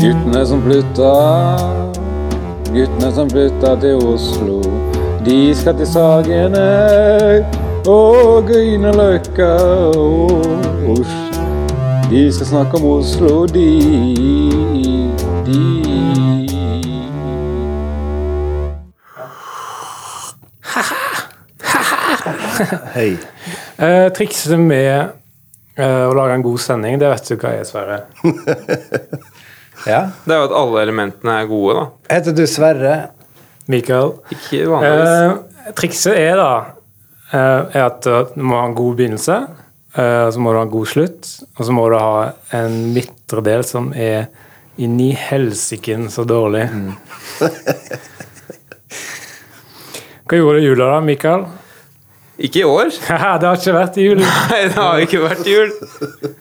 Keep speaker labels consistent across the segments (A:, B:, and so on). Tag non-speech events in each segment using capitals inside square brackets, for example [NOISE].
A: Guttene som flytta, guttene som flytta til Oslo. De skal til Sagene og Grünerløkka og Oslo. De skal snakke om Oslo, de, de.
B: Hei.
C: Eh, trikset med eh, å lage en god sending, det vet du hva er, Sverre.
B: Ja.
D: Det er jo at alle elementene er gode, da.
B: Heter du Sverre?
C: Mikael.
D: Ikke vanligvis.
C: Eh, trikset er da eh, er at eh, du må ha en god begynnelse, eh, og så må du ha en god slutt, og så må du ha en midtre del som er inni helsiken så dårlig.
D: Mm.
C: [LAUGHS] Hva gjorde du i jula da, Mikael? [LAUGHS]
D: Ikke i år. [LAUGHS]
C: Haha, det har ikke vært jul.
D: Nei, det har jo ikke vært jul. [LAUGHS]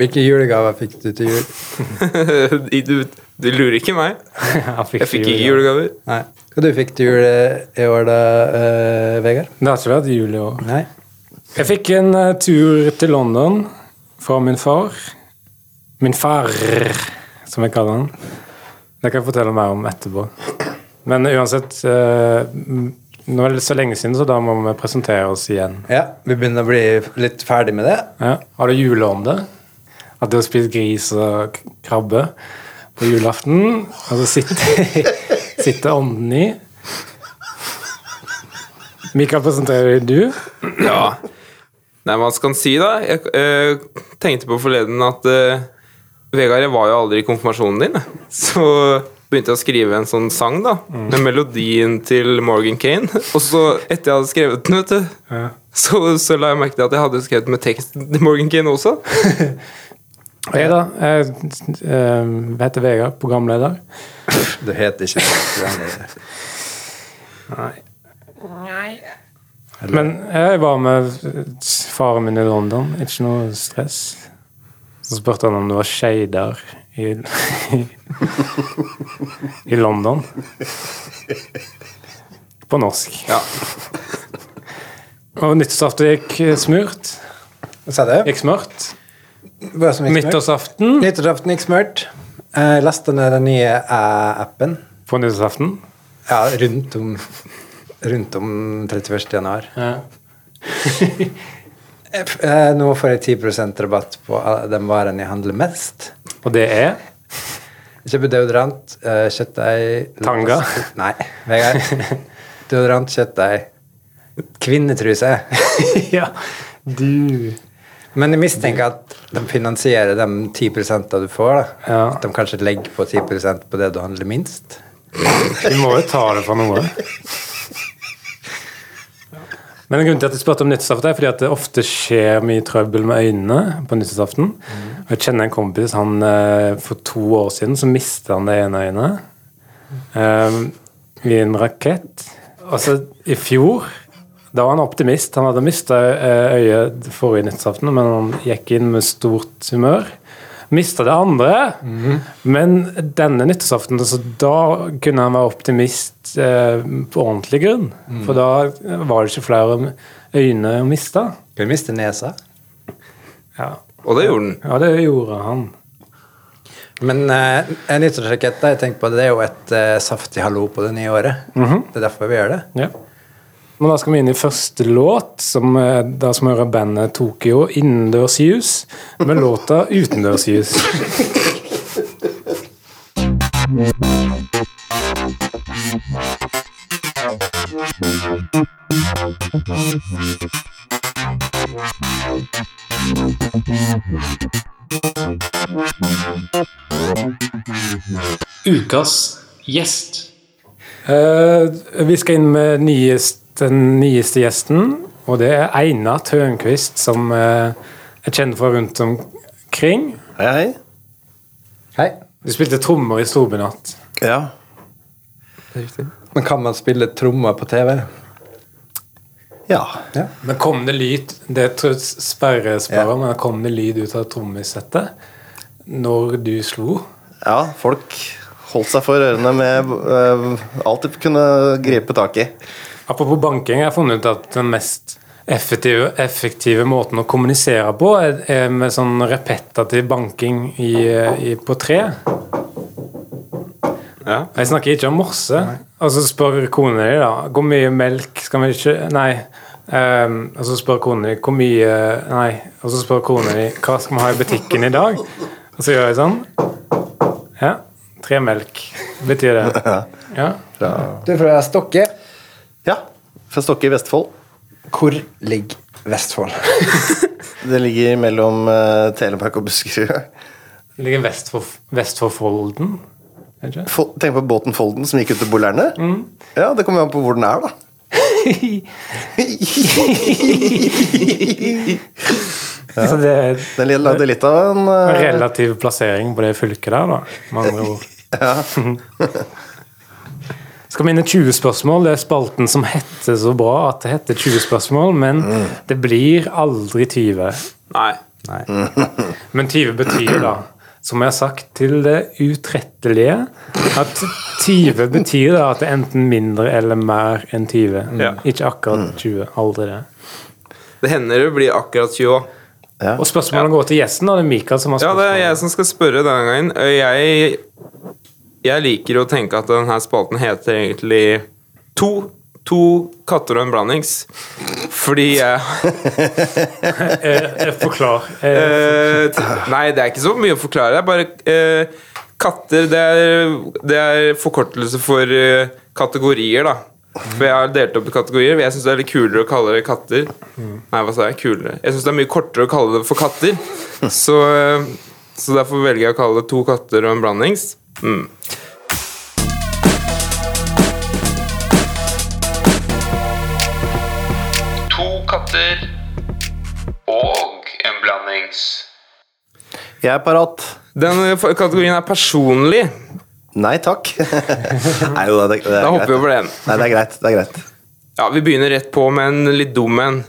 E: Hvilke julegaver fikk du til jul?
D: Du, du lurer ikke meg. [LAUGHS] Jeg fikk ikke julegaver.
E: Nei. Hva du fikk til jul eh, i år da, eh, Vegard?
C: Det har ikke vært jul i år.
E: Nei.
C: Jeg fikk en eh, tur til London fra min far. Min far, som jeg kaller han. Det kan jeg fortelle mer om etterpå. Men uansett eh, m- Nå er det så lenge siden, så da må vi presentere oss igjen.
E: Ja, vi begynner å bli litt ferdig med det.
C: Ja. Har du juleånde? At du har spist gris og k- krabbe på julaften, og så sitter, [LAUGHS] sitter ånden i? Mikael, presenterer du?
D: Ja. Nei, hva skal en si, da? Jeg eh, tenkte på forleden at eh, Vegard, jeg var jo aldri i konfirmasjonen din. Så begynte jeg å skrive en sånn sang, da. Med melodien til Morgan Kane. [LAUGHS] Og så, etter jeg hadde skrevet den, vet du, så, så la jeg merke til at jeg hadde skrevet med teksten til Morgan Kane også.
C: Og Jeg, da. Jeg eh, heter Vegard, programleder.
E: Du heter ikke programleder.
C: Men eh, jeg var med faren min i London. Ikke noe stress. Så spurte han om det var skeider i, [LAUGHS] i, i London. På norsk.
D: Ja.
C: Og nyttårsaften gikk eh, smurt.
E: Hva sa du?
C: Gikk smurt.
E: Hva som gikk smurt?
C: Nyttårsaften
E: Nyttårsaften gikk smurt. Jeg lasta ned den nye eh, appen.
C: på nyttårsaften.
E: Ja, rundt om, rundt om 31. januar. Eh, Nå får jeg 10 rabatt på eh, den varen jeg handler mest.
C: Og det er
E: Jeg Kjøper deodorant, eh, kjøttdeig
C: Tanga?
E: [LAUGHS] Nei, Vegard. Deodorant, kjøttdeig, kvinnetruse.
C: [LAUGHS]
E: [LAUGHS]
C: Ja, du
E: Men jeg mistenker at de finansierer de 10 du får. da.
C: Ja.
E: At de kanskje legger på 10 på det du handler minst.
C: Vi må jo ta det for noe. Men grunnen til at jeg spurte om nyttårsaften, er fordi at det ofte skjer mye trøbbel med øynene på nyttårsaften. Og Jeg kjenner en kompis han eh, for to år siden så mistet han det ene øynet eh, i en rakett. Og så i fjor da var han optimist. Han hadde mista øyet forrige nyttårsaften, men han gikk inn med stort humør. Mista det andre, men denne nyttårsaften så da kunne han være optimist eh, på ordentlig grunn. For da var det ikke flere øyne å miste.
E: Kan du miste nesa?
C: Ja.
D: Og det gjorde den.
C: ja, det gjorde han.
E: Men eh, en nyttårsrakett da, jeg tenker på det, det er jo et eh, saftig hallo på det nye året.
C: Mhm.
E: Det er derfor vi gjør det.
C: Ja. Men da skal vi inn i første låt, som eh, da skal vi høre bandet Tokyo Innendørsjus med låta Utendørsjus.
F: Ukas gjest.
C: Eh, vi skal inn med nyest, den nyeste gjesten, og det er Einar Tønquist, som eh, jeg kjenner fra rundt omkring.
B: Hei, hei.
E: Hei.
C: Du spilte trommer i Storbynatt.
B: Ja.
E: Men kan man spille trommer på TV?
B: Ja.
C: Men kom det lyd Det tror jeg sperresperrer, men kom det lyd ut av trommesettet når du slo?
B: Ja, folk holdt seg for ørene med eh, alt de kunne gripe tak i.
C: Apropos banking, jeg har funnet ut at den mest effektive, effektive måten å kommunisere eh, på, er, er med sånn repetativ banking i, i, på tre.
D: Ja.
C: Jeg snakker ikke om morse. Og så spør kona di, da. Hvor mye melk skal vi ikke Nei. ehm, og så spør kona di hvor mye Nei. Og så spør kona di hva skal vi ha i butikken i dag. Og så gjør jeg sånn. Ja. Tre melk betyr det. Ja.
E: Du er fra Stokke.
B: Ja. Fra Stokke i Vestfold.
E: Hvor ligger Vestfold?
B: Det ligger mellom eh, Telemark og Buskerud.
C: Det ligger vest for, vest for Folden. er det
B: [LAUGHS]
C: ikke?
B: Fol- Tenk på båten Folden som gikk ut til Bolerne.
D: Mm.
B: Ja, det kommer jo an på hvor den er, da.
C: Så det er
B: Den li- lagde litt av en
C: en
B: eh,
C: relativ plassering på det fylket der, da. Med andre ord. [LAUGHS] Skal vi inn i 20 spørsmål? Det er spalten som heter så bra at det heter 20 spørsmål, men det blir aldri 20.
D: Nei.
C: Men 20 betyr da, som jeg har sagt til det utrettelige, at 20 betyr da at det er enten mindre eller mer enn 20.
D: Ja.
C: Ikke
D: Mm.
C: akkurat 20. Aldri det.
D: Det hender det blir akkurat 20 år.
C: Og spørsmålet går til gjesten, da. Det er Mikael som har
D: Ja, det
C: spørsmål.
D: er jeg som skal spørre denne gangen. Og Jeg, jeg liker å tenke at denne spalten heter egentlig To, to katter og en blandings. Fordi jeg
C: Eh, eh, Forklar. Eh,
D: Eh, t- Nei, det er ikke så mye å forklare. Det er bare eh, Katter det er, det er forkortelse for eh, kategorier, da. For jeg har delt opp i kategorier. men Jeg syns det er litt kulere å kalle det katter. Nei, hva sa jeg? Kulere. Jeg syns det er mye kortere å kalle det for katter. Så, eh, så derfor velger jeg å kalle det to katter og en blandings. Mm.
F: To katter og en blandings.
B: Jeg er parat.
D: Den eh, f- kategorien er personlig.
B: Nei [LAUGHS] takk. Nei, jo, det, det er
D: Da
B: greit.
D: hopper vi over den.
B: Nei, det er greit. Det er greit.
D: Ja, Vi begynner rett på med en litt dum en.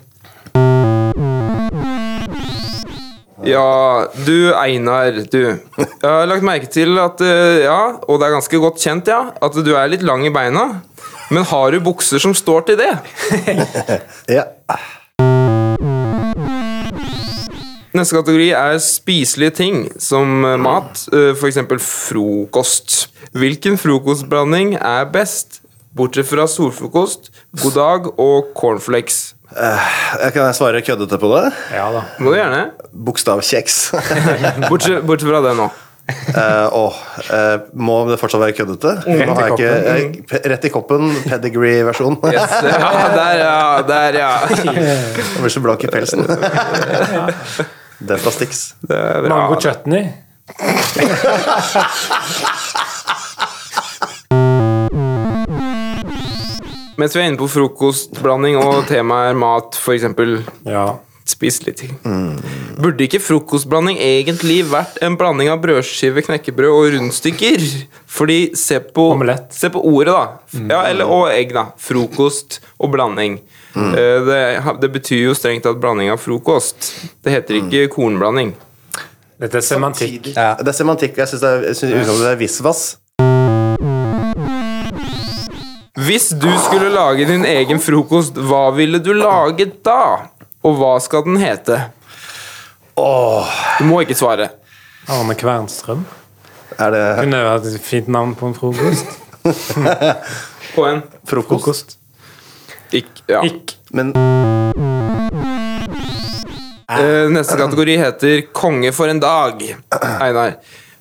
D: Ja, du Einar, du. Jeg har lagt merke til at eh, Ja, og det er ganske godt kjent, ja, at du er litt lang i beina. Men har du bukser som står til det?
B: Ja.
D: Neste kategori er spiselige ting, som eh, mat, f.eks. frokost. Hvilken frokostblanding er best, bortsett fra solfrokost, god dag og cornflakes?
B: Jeg kan svare køddete på det.
C: ja da.
D: Må du gjerne.
B: Bokstavkjeks. [LAUGHS]
D: Bortsett, bortsett fra det nå.
B: Eh, Åh, eh, må det fortsatt være køddete? Nå har jeg ikke, jeg, pe- rett i koppen, pedigree-versjon. Jeg
D: Yes. Ja, der, ja. Der, ja.
B: [LAUGHS] blir så blank i pelsen. Det er fra Stix.
D: Det er bra.
C: Mango chutney.
D: Mens vi er inne på frokostblanding og temaet er mat, f.eks.
C: Ja.
D: Spiselige ting. Burde ikke frokostblanding egentlig vært en blanding av brødskive, knekkebrød og rundstykker? Fordi se på,
C: Omelett. Mm.
D: se på ordet, da. Ja, eller, og egg, da. Frokost og blanding. Eh, Det, det betyr jo strengt tatt blanding av frokost. Det heter ikke kornblanding.
C: Dette er semantikk.
E: Ja.
B: Det er semantikk, og jeg syns det er, jeg synes i utgangspunktet det er visvas.
D: Hvis du skulle lage din egen frokost, hva ville du laget da? Og hva skal den hete? Du må ikke svare.
C: Arne Kvernstrøm.
B: Er det
C: Kunne det vært et fint navn på en frokost?
D: På en
B: frokost?
C: Frokost.
D: ikk. Ja.
C: Ikk.
B: Men
D: Eh, neste kategori heter Konge for en dag. Einar,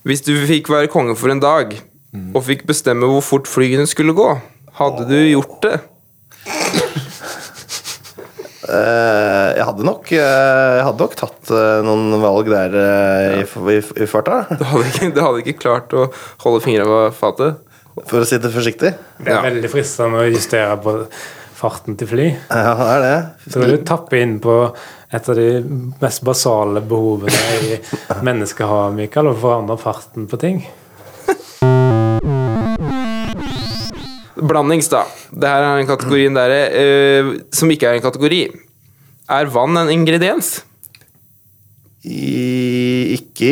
D: hvis du fikk være konge for en dag, og fikk bestemme hvor fort flyene skulle gå, hadde du gjort det?
B: eh, jeg hadde nok eh, Jeg hadde nok tatt eh, noen valg der eh, i, f- i, f- i farta,
D: Du hadde ikke, du hadde ikke klart å holde fingra ved fatet?
B: for å si det forsiktig.
C: Det er
D: Ja.
C: veldig fristende å justere på farten til fly.
B: Ja, det er det.
C: Så vil du tappe inn på et av de mest basale behovene i menneskehavet, Mikael, å forandre farten på ting.
D: Blandings, da. Det her er en kategorien der, eh, som ikke er en kategori. Er vann en ingrediens?
B: I, ikke,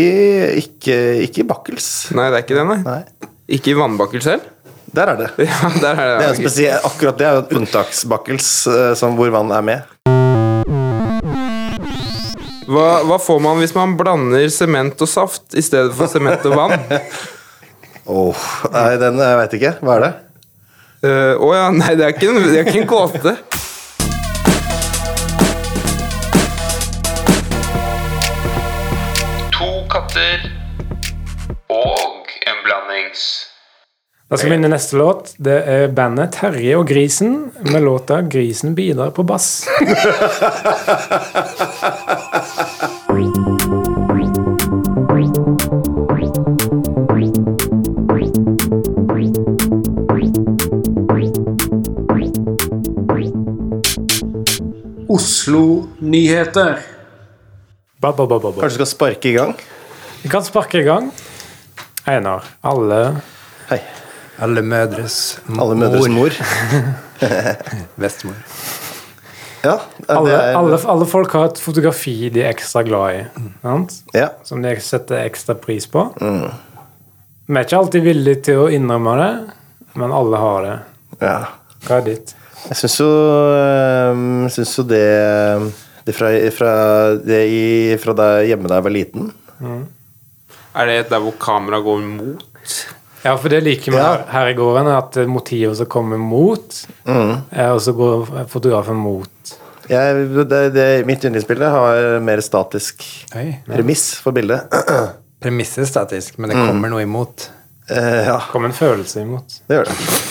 B: ikke, ikke i Bakkels.
D: Nei, det er ikke det, nei.
B: Nei.
D: Ikke i vannbakkel selv? [LAUGHS]
B: Der er det.
D: Ja, der er det.
B: Det er en
D: ok.
B: spesiell, akkurat det er jo en unntaksbakkels eh, som hvor vann er med.
D: Hva, hva får man hvis man blander sement og saft i stedet for sement og vann?
B: Åh, nei, den jeg veit ikke. Hva er det?
D: Eh, Å ja, nei, det er ikke en, det er ikke en gåte.
F: To katter og en blandings.
C: Da skal vi inn i neste låt. Det er bandet Terje og Grisen med låta 'Grisen bidrar på bass'.
A: Oslo-nyheter.
C: Ba, ba, ba, ba, ba.
B: Kanskje du skal sparke i gang?
C: Vi kan sparke i gang. Einar, alle
B: Hei.
E: Alle mødres mor.
B: Alle mødres mor.
E: Bestemor.
B: Ja, det
C: alle,
B: er,
C: alle, alle folk har et fotografi de er ekstra glad i. Sant?
B: Ja.
C: Som de setter ekstra pris på.
B: Mm.
C: Vi er ikke alltid villige til å innrømme det, men alle har det.
B: ja.
C: Hva er ditt?
B: Jeg syns jo, ehm, syns jo det, det fra, fra, det i, fra da jeg- hjemme da jeg var liten
D: Er det der hvor kameraet går mot?
C: Ja, for det liker vi
B: Ja.
C: her, her i gården, at eh, motivet som kommer mot,
B: Mm.
C: eh, og så går fotografen mot.
B: jeg, det, det, Mitt yndlingsbilde har mer statisk
E: Oi.
B: premiss for bildet.
E: Premisset er statisk, men det kommer noe imot.
B: Eh, ja,
C: Kommer en følelse imot.
B: det gjør det.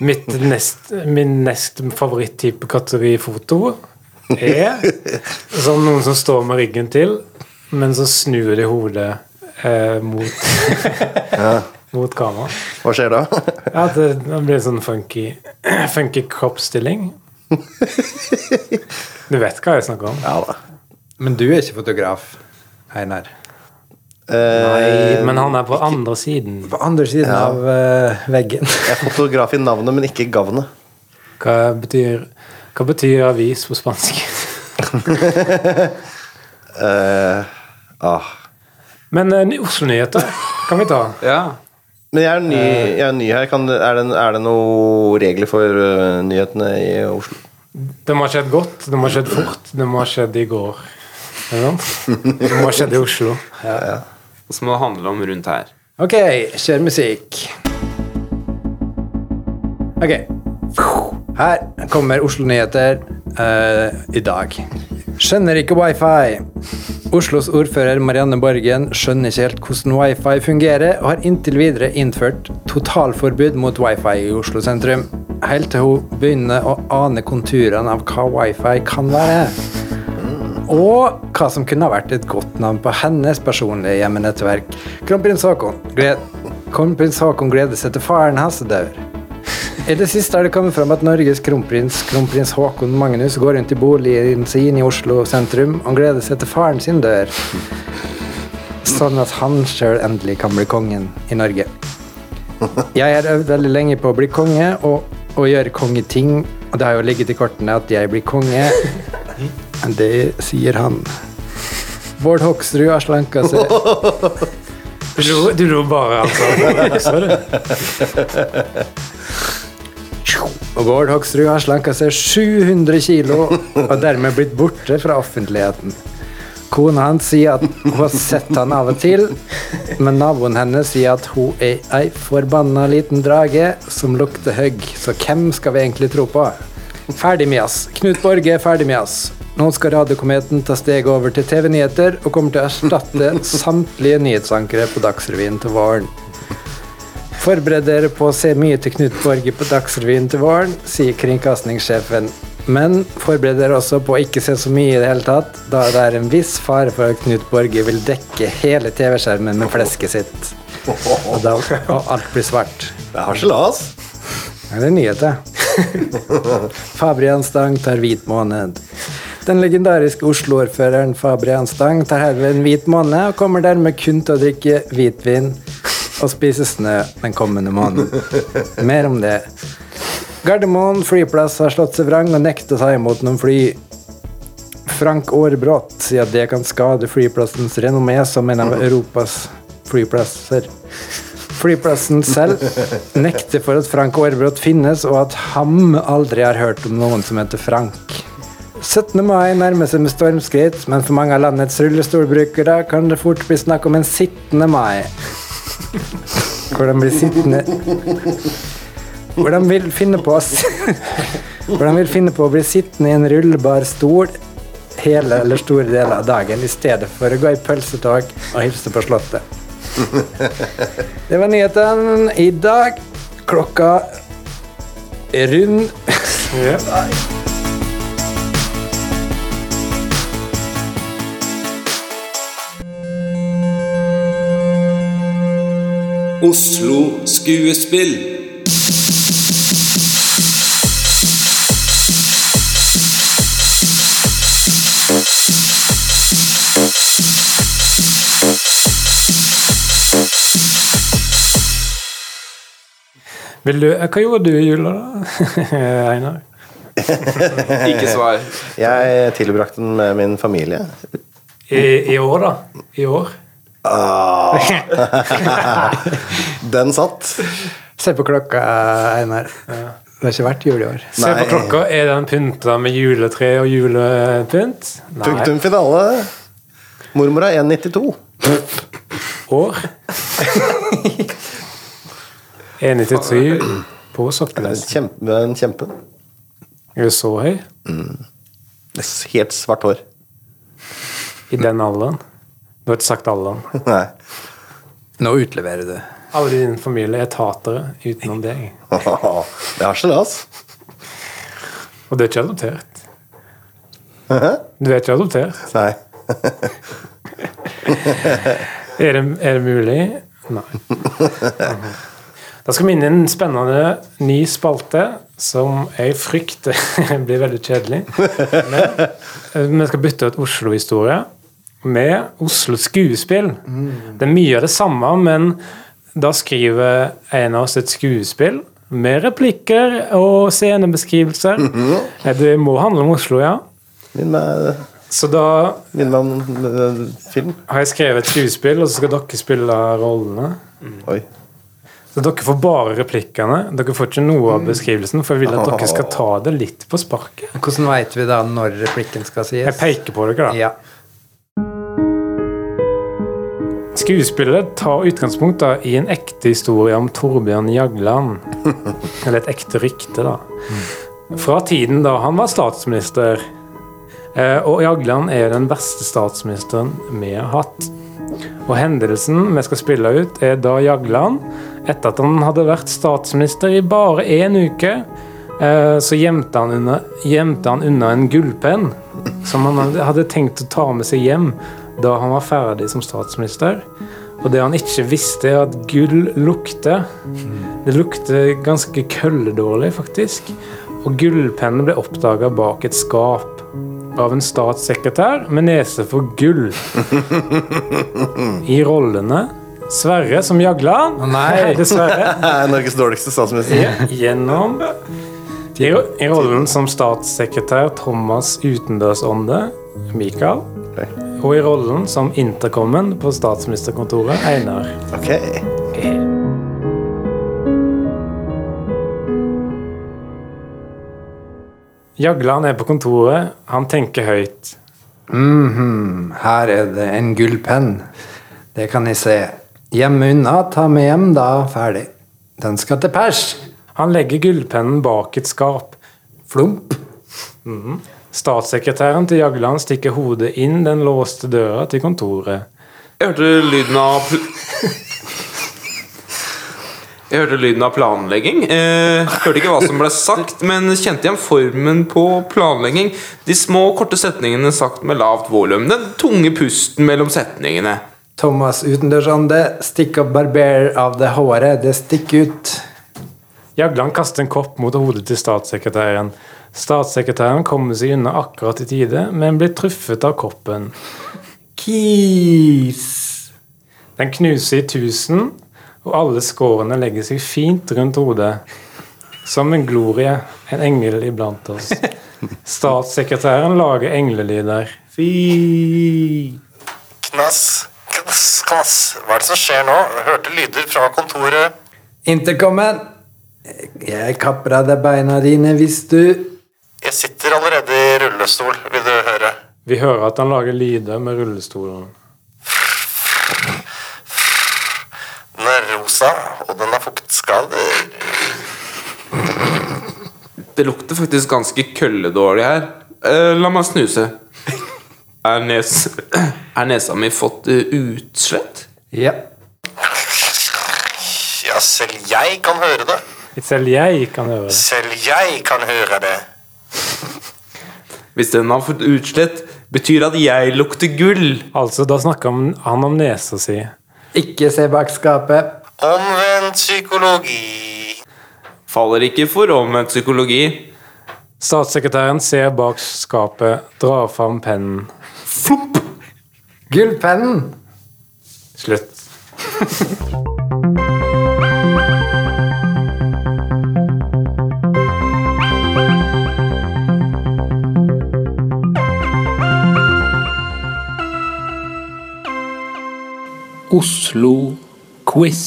C: Mitt nest, min nest favoritttype kategori foto er sånn noen som står med ryggen til, men så snur de hodet eh, mot, mot kamera.
B: Hva skjer da?
C: Ja, det, det blir en sånn funky, [CLEARS THROAT] funky kroppsstilling. Du vet hva jeg snakker om.
B: Ja da.
E: Men du er ikke fotograf, Einar.
C: Nei,
B: Eh,
C: men han er på andre siden.
E: På andre siden av eh, veggen. [LAUGHS]
B: jeg er fotograf i navnet, men ikke i gavnet.
C: Hva betyr, hva betyr avis på spansk?
B: Eh, ah.
C: Men eh, ny- Oslo-nyheter kan vi ta.
D: Ja.
B: Men jeg er ny, jeg er ny her. Kan, er, det, er det noen regler for eh, nyhetene i Oslo?
C: Det må ha skjedd godt, det må ha skjedd fort, det må ha skjedd i går. Er det sant? Det må ha skjedd i Oslo.
D: Og så må det handle om rundt her.
E: Ok, kjør musikk. Ok. Her kommer Oslo Nyheter eh, i dag. Skjønner ikke wifi. Oslos ordfører Marianne Borgen skjønner ikke helt hvordan wifi fungerer, og har inntil videre innført totalforbud mot wifi i Oslo sentrum. Helt til hun begynner å ane konturene av hva wifi kan være. Og hva som kunne ha vært et godt navn på hennes personlige hjemmenettverk. Kronprins Haakon, gled... Kronprins Haakon gleder seg til faren hans dør. I det siste har det kommet fram at Norges kronprins, kronprins Haakon Magnus, går rundt i boligen sin i Oslo sentrum og gleder seg til faren sin dør. Sånn at han sjøl endelig kan bli kongen i Norge. Jeg har øvd veldig lenge på å bli konge og, og gjøre kongeting. Og det har jo ligget i kortene at jeg blir konge. Det sier han. Bård Hoksrud har slanka seg.
C: Du lo, du lo bare, altså. Så du?
E: Og Bård Hoksrud har slanka seg 700 kilo og dermed blitt borte fra offentligheten. Kona hans sier at hun har sett han av og til, men naboen hennes sier at hun er ei forbanna liten drage som lukter høgg, så hvem skal vi egentlig tro på? Ferdig med oss. Knut Borge er ferdig med oss. Nå skal Radiokometen ta steget over til TV-nyheter og kommer til å erstatte samtlige nyhetsankere på Dagsrevyen til våren. Forbered dere på å se mye til Knut Borge på Dagsrevyen til våren, sier kringkastingssjefen. Men forbered dere også på å ikke se så mye i det hele tatt, da det er en viss fare for at Knut Borge vil dekke hele TV-skjermen med flesket sitt. Og, da, og alt blir svart.
B: Det er harselas!
E: Ja, Det er nyheter. Fabrian Stang tar hvit måned. Den legendariske Oslo-ordføreren Fabrian Stang tar herved en hvit måned og kommer dermed kun til å drikke hvitvin og spise snø den kommende måneden. Mer om det. Gardermoen flyplass har slått seg vrang og nekter å ta imot noen fly. Frank Aarbrot sier at det kan skade flyplassens renommé som en av Europas flyplasser. Flyplassen selv nekter for at Frank Aarbrot finnes, og at ham aldri har hørt om noen som heter Frank. 17. mai nærmer seg med stormskritt, men for mange av landets rullestolbrukere kan det fort bli snakk om en sittende mai. Hvor de blir sittende Hvor de vil finne på å s- [LAUGHS] Hvor de vil finne på å bli sittende i en rullbar stol hele eller store deler av dagen i stedet for å gå i pølsetog og hilse på Slottet. Det var nyheten i dag. Klokka er rund. [LAUGHS]
G: Oslo Skuespill.
C: Vil du, hva gjorde du i jula, da? [LAUGHS] Einar?
D: Ikke svar.
B: Jeg tilbrakte den med min familie.
C: I, I år, da? I år?
B: Ah. [LAUGHS] Den satt.
E: Se på klokka, Einar. Det har ikke vært jul i år.
C: Se på
B: Nei.
C: klokka. Er den pynta med juletre og julepynt? Nei.
B: Punktum finale. Mormora 1,92.
C: År? 1,93 på Sokkenes.
B: Kjempe, en kjempe.
C: Er du så høy?
B: Helt svart hår. [LAUGHS]
C: I den alderen? Du har ikke sagt alderen.
B: Nei.
E: Nå utleverer du.
C: Alle i din familie er tatere utenom deg.
B: Det har stillas.
C: Og du er ikke adoptert. Du er ikke adoptert.
B: Nei.
C: Er det, er det mulig? Nei. Da skal vi inn i en spennende ny spalte som jeg frykter [LAUGHS] blir veldig kjedelig. Men eh, vi skal bytte ut Oslo-historie med Oslo skuespill. Det er mye av det samme, men da skriver en av oss et skuespill med replikker og scenebeskrivelser. Eh, Det må handle om Oslo, ja.
B: Minn meg,
C: Så da
B: minn meg om eh, film.
C: har jeg skrevet et skuespill, og så skal dere spille rollene.
B: Oi.
C: Så dere får bare replikkene. Dere får ikke noe av beskrivelsen, for jeg vil at dere skal ta det litt på sparket.
E: Hvordan veit vi da når replikken skal sies?
C: Jeg peker på dere, da.
E: Ja.
C: Skuespillet tar utgangspunkt da, i en ekte historie om Torbjørn Jagland. Eller et ekte rykte, da. Fra tiden da han var statsminister. Eh, Og Jagland er den beste statsministeren vi har hatt. Og hendelsen vi skal spille ut, er da Jagland, etter at han hadde vært statsminister i bare én uke, eh, så gjemte han unna, gjemte han unna en gullpenn som han hadde- hadde tenkt å ta med seg hjem da han var ferdig som statsminister. Og det han ikke visste, er at gull lukter. Det lukter ganske kølledårlig, faktisk. Og gullpennen ble oppdaga bak et skap av en statssekretær med nese for gull. I rollene Sverre som Jagland.
E: nei.
C: [LAUGHS] Dessverre
B: Eh, Norges dårligste statsminister.
C: gjennom i, i rollen som statssekretær Thomas Utendørsånde, Mikael. Og i rollen som intercomen på statsministerkontoret, Einar.
B: Ok.
C: Jagland er på kontoret, han tenker høyt.
E: Mhm, Her er det en gullpenn. Det kan jeg se. Gjemme unna, ta med hjem, da. Ferdig. Den skal til pers.
C: Han legger gullpennen bak et skap.
E: Flump.
C: Statssekretæren til Jagland stikker hodet inn den låste døra til kontoret.
D: Jeg hørte lyden av pl Jeg hørte lyden av planlegging. Eh, hørte ikke hva som ble sagt, men kjente igjen formen på planlegging. De små, korte setningene sagt med lavt volum. Den tunge pusten mellom setningene.
E: Thomas utendørsande, stikk og barber av det håret. Det stikker ut.
C: Jagland kaster en kopp mot hodet til statssekretæren. Statssekretæren kommer seg unna akkurat i tide, men blir truffet av koppen.
E: Kis.
C: Den knuser i tusen, og alle skårene legger seg fint rundt hodet. Som en glorie, en engel iblant oss. Statssekretæren lager englelyder.
H: Knass, knass, knass. Hva er det som skjer nå? Hørte lyder fra kontoret.
E: Intercomen. Jeg kapper av deg beina dine hvis du
H: Jeg sitter allerede i rullestol, vil du høre.
C: Vi hører at han lager lyder med rullestolen.
H: rosa, og den har fuktskader.
D: Det lukter faktisk ganske kølledårlig her. Eh, la meg snuse. Er, nes er nesa mi fått eh, utslett?
E: Ja.
H: Ja, selv jeg kan høre det.
C: Selv jeg kan høre det.
H: Selv jeg kan høre det.
D: Hvis den har fått utslett, betyr at jeg lukter gull.
C: Altså, da snakker han- han om nesa si.
E: Ikke se bak skapet.
H: Omvendt psykologi.
D: Faller ikke for omvendt psykologi.
C: Statssekretæren ser bak skapet, drar fram pennen.
D: Flopp!
E: Gullpennen!
C: Slutt.
I: Oslo-quiz.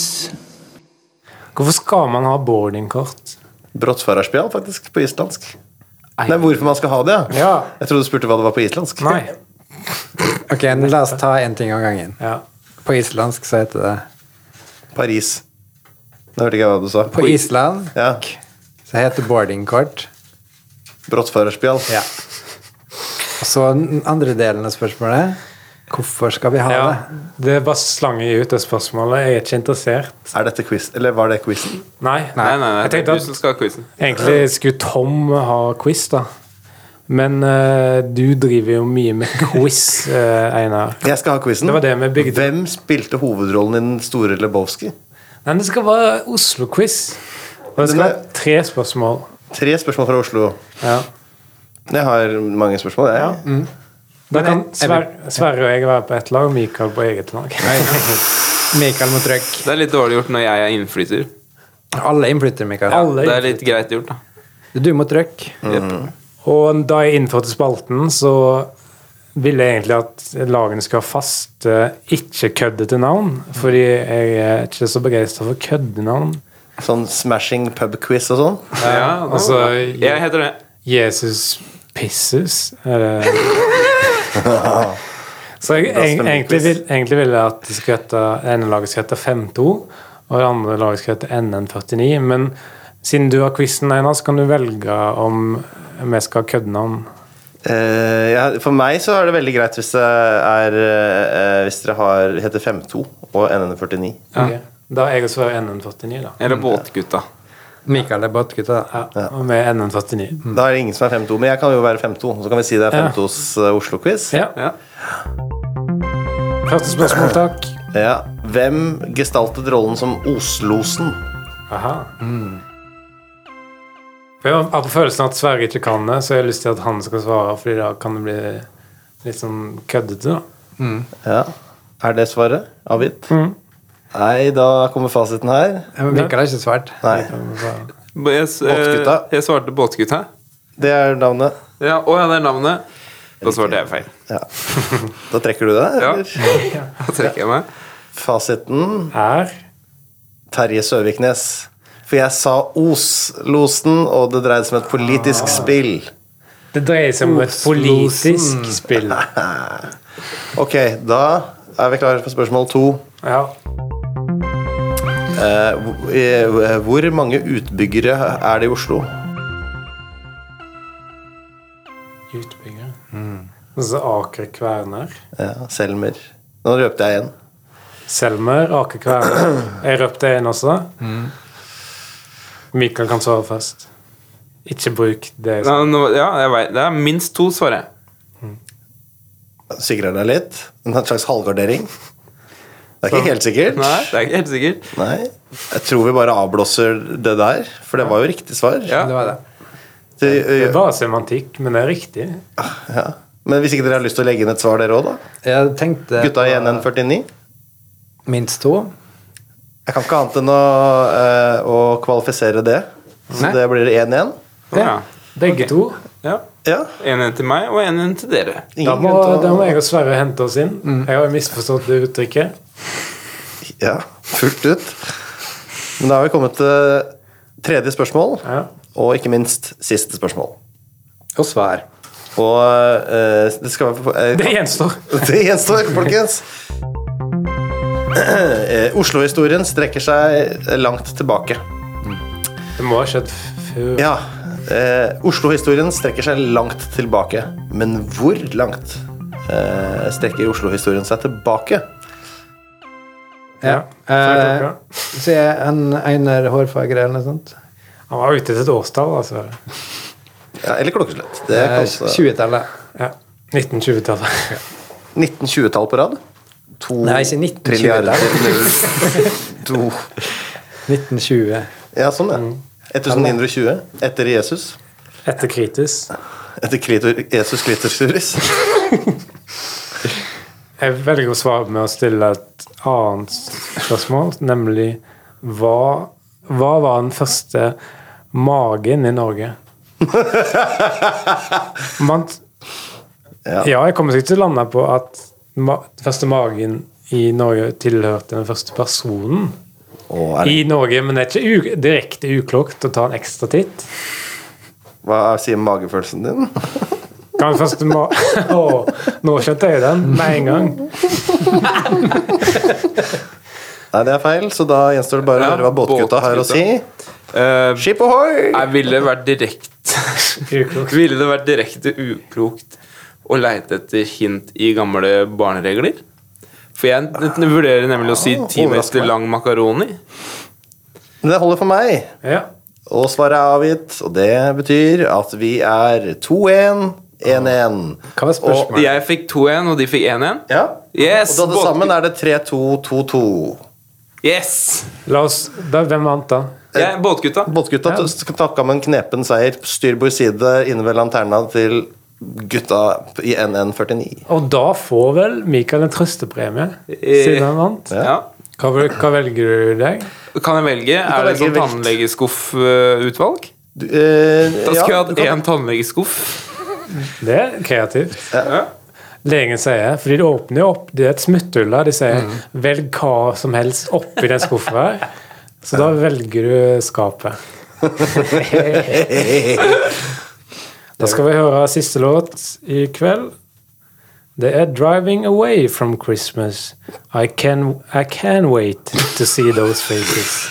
C: Hvorfor skal man ha boardingkort?
B: Brottsførerspjall, faktisk, på islandsk. Nei, hvorfor man skal ha det, ja.
C: Ja.
B: Jeg trodde du spurte hva det var på islandsk.
C: Nei.
E: Ok, men la oss ta én ting av gangen.
C: Ja.
E: På islandsk så heter det
B: Paris. Nå hørte ikke jeg hva du sa.
E: På Island
B: Ja.
E: så heter boardingkort
B: Brottsførerspjall.
E: Ja. Og så den andre delen av spørsmålet. Hvorfor skal vi ha
C: ja.
E: det?
C: Det bare slanger jeg ut det spørsmålet. Jeg er ikke interessert.
B: Er dette quiz? Eller var det quizen?
C: Nei.
D: Nei, nei, nei.
C: Jeg tenkte
D: Du som
C: at
D: skal ha quizen.
C: egentlig skulle Tom ha quiz, da. Men eh, du driver jo mye med quiz, eh, Einar.
B: Jeg skal ha quizen.
C: Det var det vi bygde.
B: Hvem spilte hovedrollen i Den store Lebowski?
C: Nei, det skal være Oslo-quiz. Og det skal
B: Den er-
C: være tre spørsmål.
B: Tre spørsmål fra Oslo.
C: Ja.
B: Jeg har mange spørsmål, jeg.
C: Da kan
E: jeg- jeg
C: Sver- Sverre og jeg være på ett lag, og Mikael på eget lag. [LAUGHS]
E: Mikael må trykke.
D: Det er litt dårlig gjort når jeg er innflytter.
E: Alle innflytter, Mikael.
C: Alle
D: Det er litt greit gjort, da.
E: Du må trykke.
D: Mm.
C: Og da jeg innførte spalten, så ville jeg egentlig at lagene skal ha faste, ikke køddete navn. Fordi jeg er ikke så begeistra for køddenavn.
B: Sånn smashing pub-quiz og sånn.
D: Ja,
C: Altså,
D: jeg heter det.
C: Jesus pisses. Eller Så jeg, jeg, egentlig, vil, egentlig vil jeg at det skal hete NN-laget skal hete 5-2, og det andre laget skal hete NN49. Men siden du har quizen, Einar, så kan du velge om vi skal ha køddenavn.
B: Eh, jeg- for meg så er det veldig greit hvis det er eh, Hvis dere har, heter 52 og NN49.
C: Ok. Da er jeg og Sverre NN49, da.
D: Eller Båtgutta.
E: Mikael er båtgutta.
C: Ja, og vi er NN49.
B: Da er det ingen som er 52, men jeg kan jo være 52. Så kan vi si det er
C: Ja.
B: 52s eh, Oslo-quiz.
C: Ja.
D: Ja.
C: Første spørsmål, takk.
B: Ja. Hvem gestaltet rollen som Oslosen?
C: Aha. Mm. For Jeg har på følelsen at Sverre ikke kan det, så jeg har lyst til at han skal svare, Fordi da kan det bli litt sånn køddete. da.
B: Ja. Er det svaret avgitt?
C: Mm.
B: Nei, da kommer fasiten her.
E: Ja, men Mikael har ikke svart.
B: Nei.
D: B- Jeg, s-
B: Båtgutta.
D: eh, jeg svarte Båtgutta.
B: Det er navnet.
D: Ja, å ja, det er navnet. Da svarte jeg feil.
C: [LAUGHS]
B: Da trekker du det,
D: Ja.
B: eller?
D: Da trekker jeg meg.
B: Fasiten
C: Er
B: Terje Søviknes. For jeg sa Os-losen, og det dreide seg om et
C: Ah.
B: politisk spill.
C: Det dreier seg om et politisk spill.
B: Ok, da er vi klare for spørsmål to.
C: Ja.
B: Eh, hvor- eh, hvor mange utbyggere er det i Oslo?
C: Utbygger. Altså Aker Kværner.
B: Ja, Selmer. Nå røpte jeg igjen.
C: Selmer, Aker
B: [CLEARS THROAT]
C: Kværner. Jeg røpte en også.
B: Mm.
C: Mikael kan svare først. Ikke bruk det.
D: Ja, nå, ja, jeg vet. Det er minst to, svarer jeg.
B: Sikrer deg litt. En slags halvgardering. Det er ikke helt sikkert.
D: Nei, det er ikke helt sikkert.
B: Nei. Jeg tror vi bare avblåser det der, for det var jo riktig svar.
D: Ja.
E: Det var det.
B: Det-
C: Det
B: ø-
C: er bare semantikk, men det er riktig.
B: ja. Men hvis ikke dere har lyst til å legge inn et svar, dere òg, da?
E: Jeg tenkte
B: Gutta i NN49?
E: minst to.
B: Jeg kan ikke annet enn å, eh, å kvalifisere det. Så
D: Nei.
B: det blir 1-1.
D: Ja.
C: Begge to.
D: ja.
B: Ja.
D: En en til meg, og en en til dere.
C: Da
B: Ingen
C: må, da
B: grunn til å Mm.
C: må jeg og Sverre hente oss inn. Jeg har jo misforstått det uttrykket.
B: Ja, fullt ut. Men da har vi kommet til tredje spørsmål,
C: Ja.
B: og ikke minst siste spørsmål.
E: Og svar.
B: Og eh, det skal være [LAUGHS]
C: Det gjenstår.
B: Det gjenstår, folkens! Eh, Oslo-historien strekker seg langt tilbake.
C: Det må ha skjedd før
B: Ja, eh, Oslo-historien strekker seg langt tilbake. Men hvor langt eh, strekker Oslo-historien seg tilbake?
E: Ja.
B: Eh,
C: Før klokka.
E: Se en Einar Hårfagre eller noe sånt.
C: Han var ute etter et årstall, altså.
B: Ja, eller klokkeslett. Det
E: Eh,
B: kalles det.
E: 20-tallet.
C: Ja. 1920-tallet.
B: 1920-tall på rad. To
E: Nei, ikke 1920-tall.
B: [LAUGHS] trilliarder. to
E: 1920.
B: Ja, sånn, ja. 1920. Etter Jesus.
C: Etter Kritis.
B: Etter Kritor, Jesus Klitoris.
C: Jeg velger å svare med å stille et annet spørsmål, nemlig hva, hva var den første magen i Norge? Man,
B: Ja.
C: ja, jeg kommer sikkert til å lande på at ma, den første magen i Norge tilhørte den første personen
B: Å, er,
C: i Norge, men det er ikke u, direkte uklokt å ta en ekstra titt.
B: hva sier magefølelsen din?
C: Kan den første ma Å, nå skjønte jeg den med en gang.
B: Nei, det er feil, så da gjenstår det bare å
D: Ja,
B: høre hva båtgutta har å si.
D: båtgutta. Eh,
B: Skip ohoi!
D: jeg ville vært direkte
C: Uklokt.
D: [LAUGHS] Ville det vært direkte uklokt å leite etter hint i gamle barneregler? For jeg n- vurderer nemlig å si ti meter
B: Overrasker meg.
D: lang makaroni.
B: Men det holder for meg.
C: Ja.
B: Og svaret er avgitt, og det betyr at vi er 2-1, 1-1.
E: Hva var
D: Og
E: spørsmålet?
D: jeg fikk 2-1, og de fikk 1-1.
B: Ja.
D: Yes!
B: Og da til
D: båt-
B: sammen er det 3-2, 2-2.
D: yes.
C: La oss, da, hvem vant, da?
D: Jeg, båtgutta.
B: Båtgutta
C: Ja.
B: ja. takka med en knepen seier. Styrbord side inne ved lanterna til gutta i NN49.
C: Og da får vel Mikael en trøstepremie, siden han vant.
D: Ja.
C: Hva, vel- hva velger du deg?
D: Kan jeg velge?
B: kan
D: Er det
B: velge
D: sånn
B: vilt.
D: tannlegeskuffutvalg?
B: Du, eh,
D: Da skulle
B: ja, du
D: jeg hatt
B: kan-
D: én tannlegeskuff.
C: Det er kreativt. Legen sier, fordi det åpner jo opp, det er et smutthull der, de sier velg hva som helst oppi den skuffa her. Så da velger du skapet. da skal vi høre siste låt i kveld. Det er 'Driving Away From Christmas'. I can, I can wait to see those faces.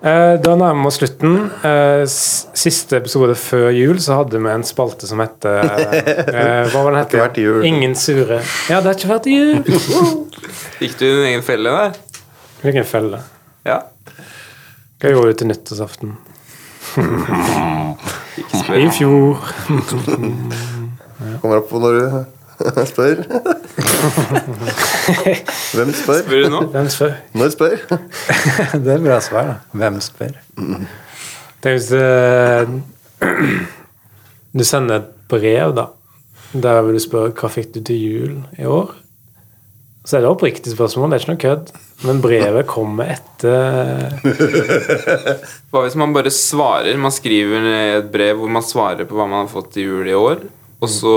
C: Eh, Da nærmer vi oss slutten. Eh, s- Siste episode før jul så hadde vi en spalte som het
B: [LAUGHS]
C: eh, Hva var den
B: Det har ikke vært
C: hette?
B: jul.
C: Ingen sure. Ja, det har ikke vært jul!
B: [LAUGHS]
D: Gikk du i din egen felle der?
C: Hvilken felle.
D: Ja.
C: Hva gjorde du til nyttårsaften? [LAUGHS]
D: Ikke
C: I
D: spør.
C: fjor.
B: Kommer opp når du [LAUGHS]
D: [LAUGHS]
B: spør. Hvem spør?
D: Spør du nå?
C: Hvem spør?
B: Når spør?
E: Det er bra svar, da. Hvem spør?
C: Tenk hvis eh, [CLEARS THROAT] du sender et brev, da, der vil du spørre hva fikk du til jul i år? Så er det oppriktig spørsmål, det er ikke noe kødd. Men brevet kommer etter
D: Hva hvis man bare svarer? Man skriver ned et brev hvor man svarer på hva man har fått i jul i år. Og så,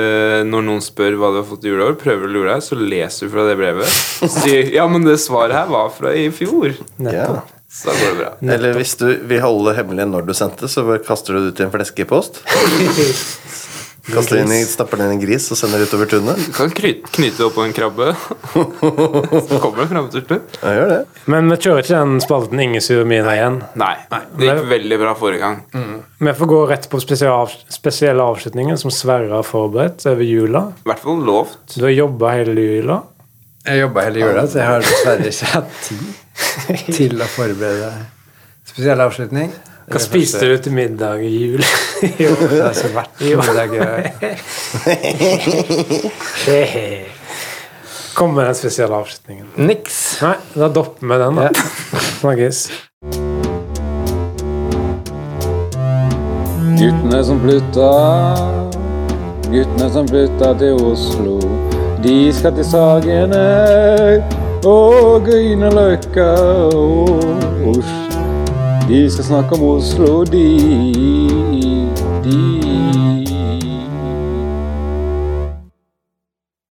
D: eh, når noen spør hva du har fått i jul i år, prøver å lure deg, så leser du fra det brevet. Og sier ja, men det svaret her var fra i fjor.
B: Ja.
D: Så da går det bra.
B: Eller hvis du vil holde det hemmelig når du sendte, så bare kaster du det ut i en flaskepost. Kaster det inn i, stapper det inn i en gris og sender det utover tunet.
D: Du kan kry- knyte det opp på en krabbe. Så kommer det fram til slutt.
B: Ja, gjør det.
C: Men vi kjører ikke den spalten Ingen sure mine igjen.
D: Nei. Det gikk veldig bra forrige gang.
C: Vi får gå rett på spesial, spesielle avslutninger som Sverre har forberedt over jula.
D: I hvert fall lovt.
C: Du har jobba hele jula.
E: Jeg jobba hele jula, så jeg har dessverre ikke hatt tid til å forberede spesiell avslutning.
C: Hva spiste du til middag i [LAUGHS] jul?
E: Det har ikke vært middag.
C: [LAUGHS] Kom med den spesielle avslutningen.
E: Niks.
C: Nei, da dopper vi den, da. Snakkes.
A: Guttene som flytta, guttene som flytta til Oslo. De skal til Sagene og Grünerløkka og Os- De skal snakke om Oslo, de. De